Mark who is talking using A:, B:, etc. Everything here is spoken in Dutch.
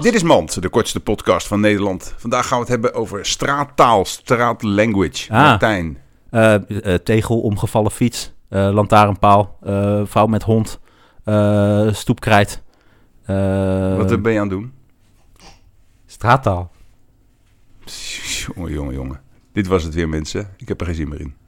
A: Dit is Mand, de kortste podcast van Nederland. Vandaag gaan we het hebben over straattaal, straatlanguage.
B: Ah.
A: Martijn,
B: Eh, eh, tegel, omgevallen fiets, eh, lantaarnpaal, eh, vrouw met hond, eh, stoepkrijt. eh,
A: wat ben je aan het doen?
B: Straattaal.
A: Jongen, jongen, jongen. Dit was het weer, mensen. Ik heb er geen zin meer in.